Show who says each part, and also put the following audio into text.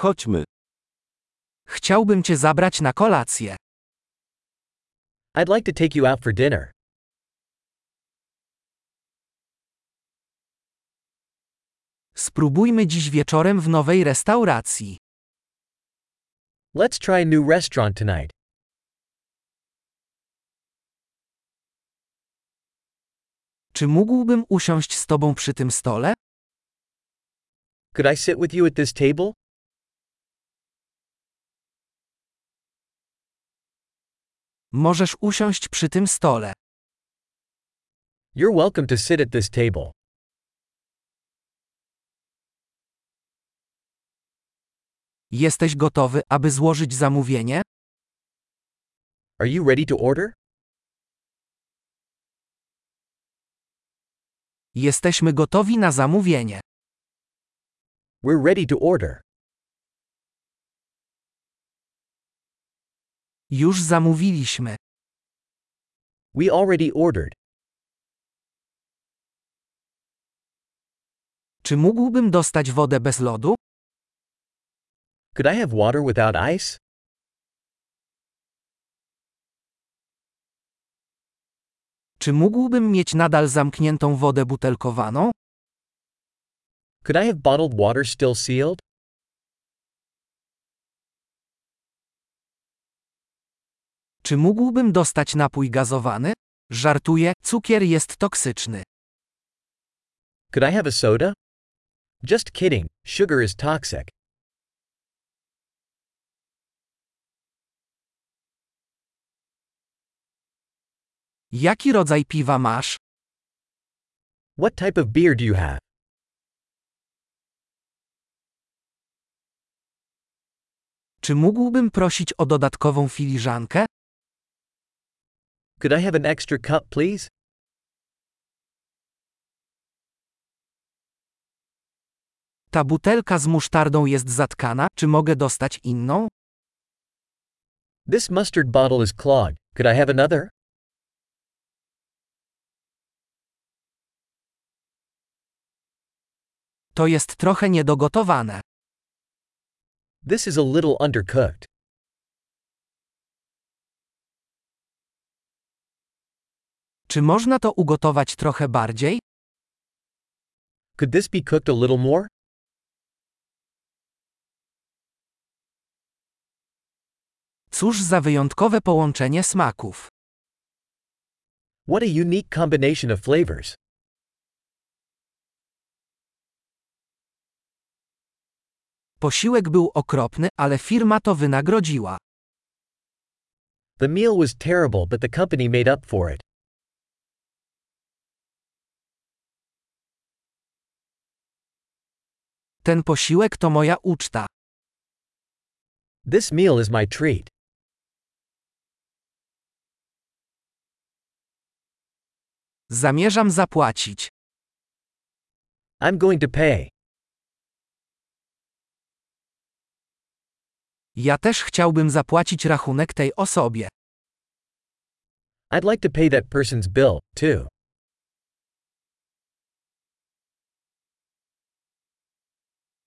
Speaker 1: Chodźmy. Chciałbym cię zabrać na kolację.
Speaker 2: I'd like to take you out for dinner.
Speaker 1: Spróbujmy dziś wieczorem w nowej restauracji.
Speaker 2: Let's try a new restaurant tonight.
Speaker 1: Czy mógłbym usiąść z tobą przy tym stole?
Speaker 2: Could I sit with you at this table?
Speaker 1: Możesz usiąść przy tym stole.
Speaker 2: You're welcome to sit at this table.
Speaker 1: Jesteś gotowy, aby złożyć zamówienie?
Speaker 2: Are you ready to order?
Speaker 1: Jesteśmy gotowi na zamówienie.
Speaker 2: We're ready to order.
Speaker 1: Już zamówiliśmy.
Speaker 2: We already ordered.
Speaker 1: Czy mógłbym dostać wodę bez lodu?
Speaker 2: Could I have water without ice?
Speaker 1: Czy mógłbym mieć nadal zamkniętą wodę butelkowaną?
Speaker 2: Could I have bottled water still sealed?
Speaker 1: Czy mógłbym dostać napój gazowany? Żartuję, cukier jest toksyczny.
Speaker 2: Could I have a soda? Just kidding, sugar is toxic.
Speaker 1: Jaki rodzaj piwa masz?
Speaker 2: What type of beer do you have?
Speaker 1: Czy mógłbym prosić o dodatkową filiżankę?
Speaker 2: Could I have an extra cup, please?
Speaker 1: Ta butelka z musztardą jest zatkana, czy mogę dostać inną?
Speaker 2: This mustard bottle is clogged. Could I have another?
Speaker 1: To jest trochę niedogotowane.
Speaker 2: This is a little undercooked.
Speaker 1: Czy można to ugotować trochę bardziej?
Speaker 2: Could this be cooked a little more?
Speaker 1: Cóż za wyjątkowe połączenie smaków.
Speaker 2: What a unique combination of flavors.
Speaker 1: Posiłek był okropny, ale firma to wynagrodziła.
Speaker 2: The meal was terrible, but the company made up for it.
Speaker 1: Ten posiłek to moja uczta.
Speaker 2: This meal is my treat.
Speaker 1: Zamierzam zapłacić.
Speaker 2: I'm going to pay.
Speaker 1: Ja też chciałbym zapłacić rachunek tej osobie.
Speaker 2: I'd like to pay that person's bill, too.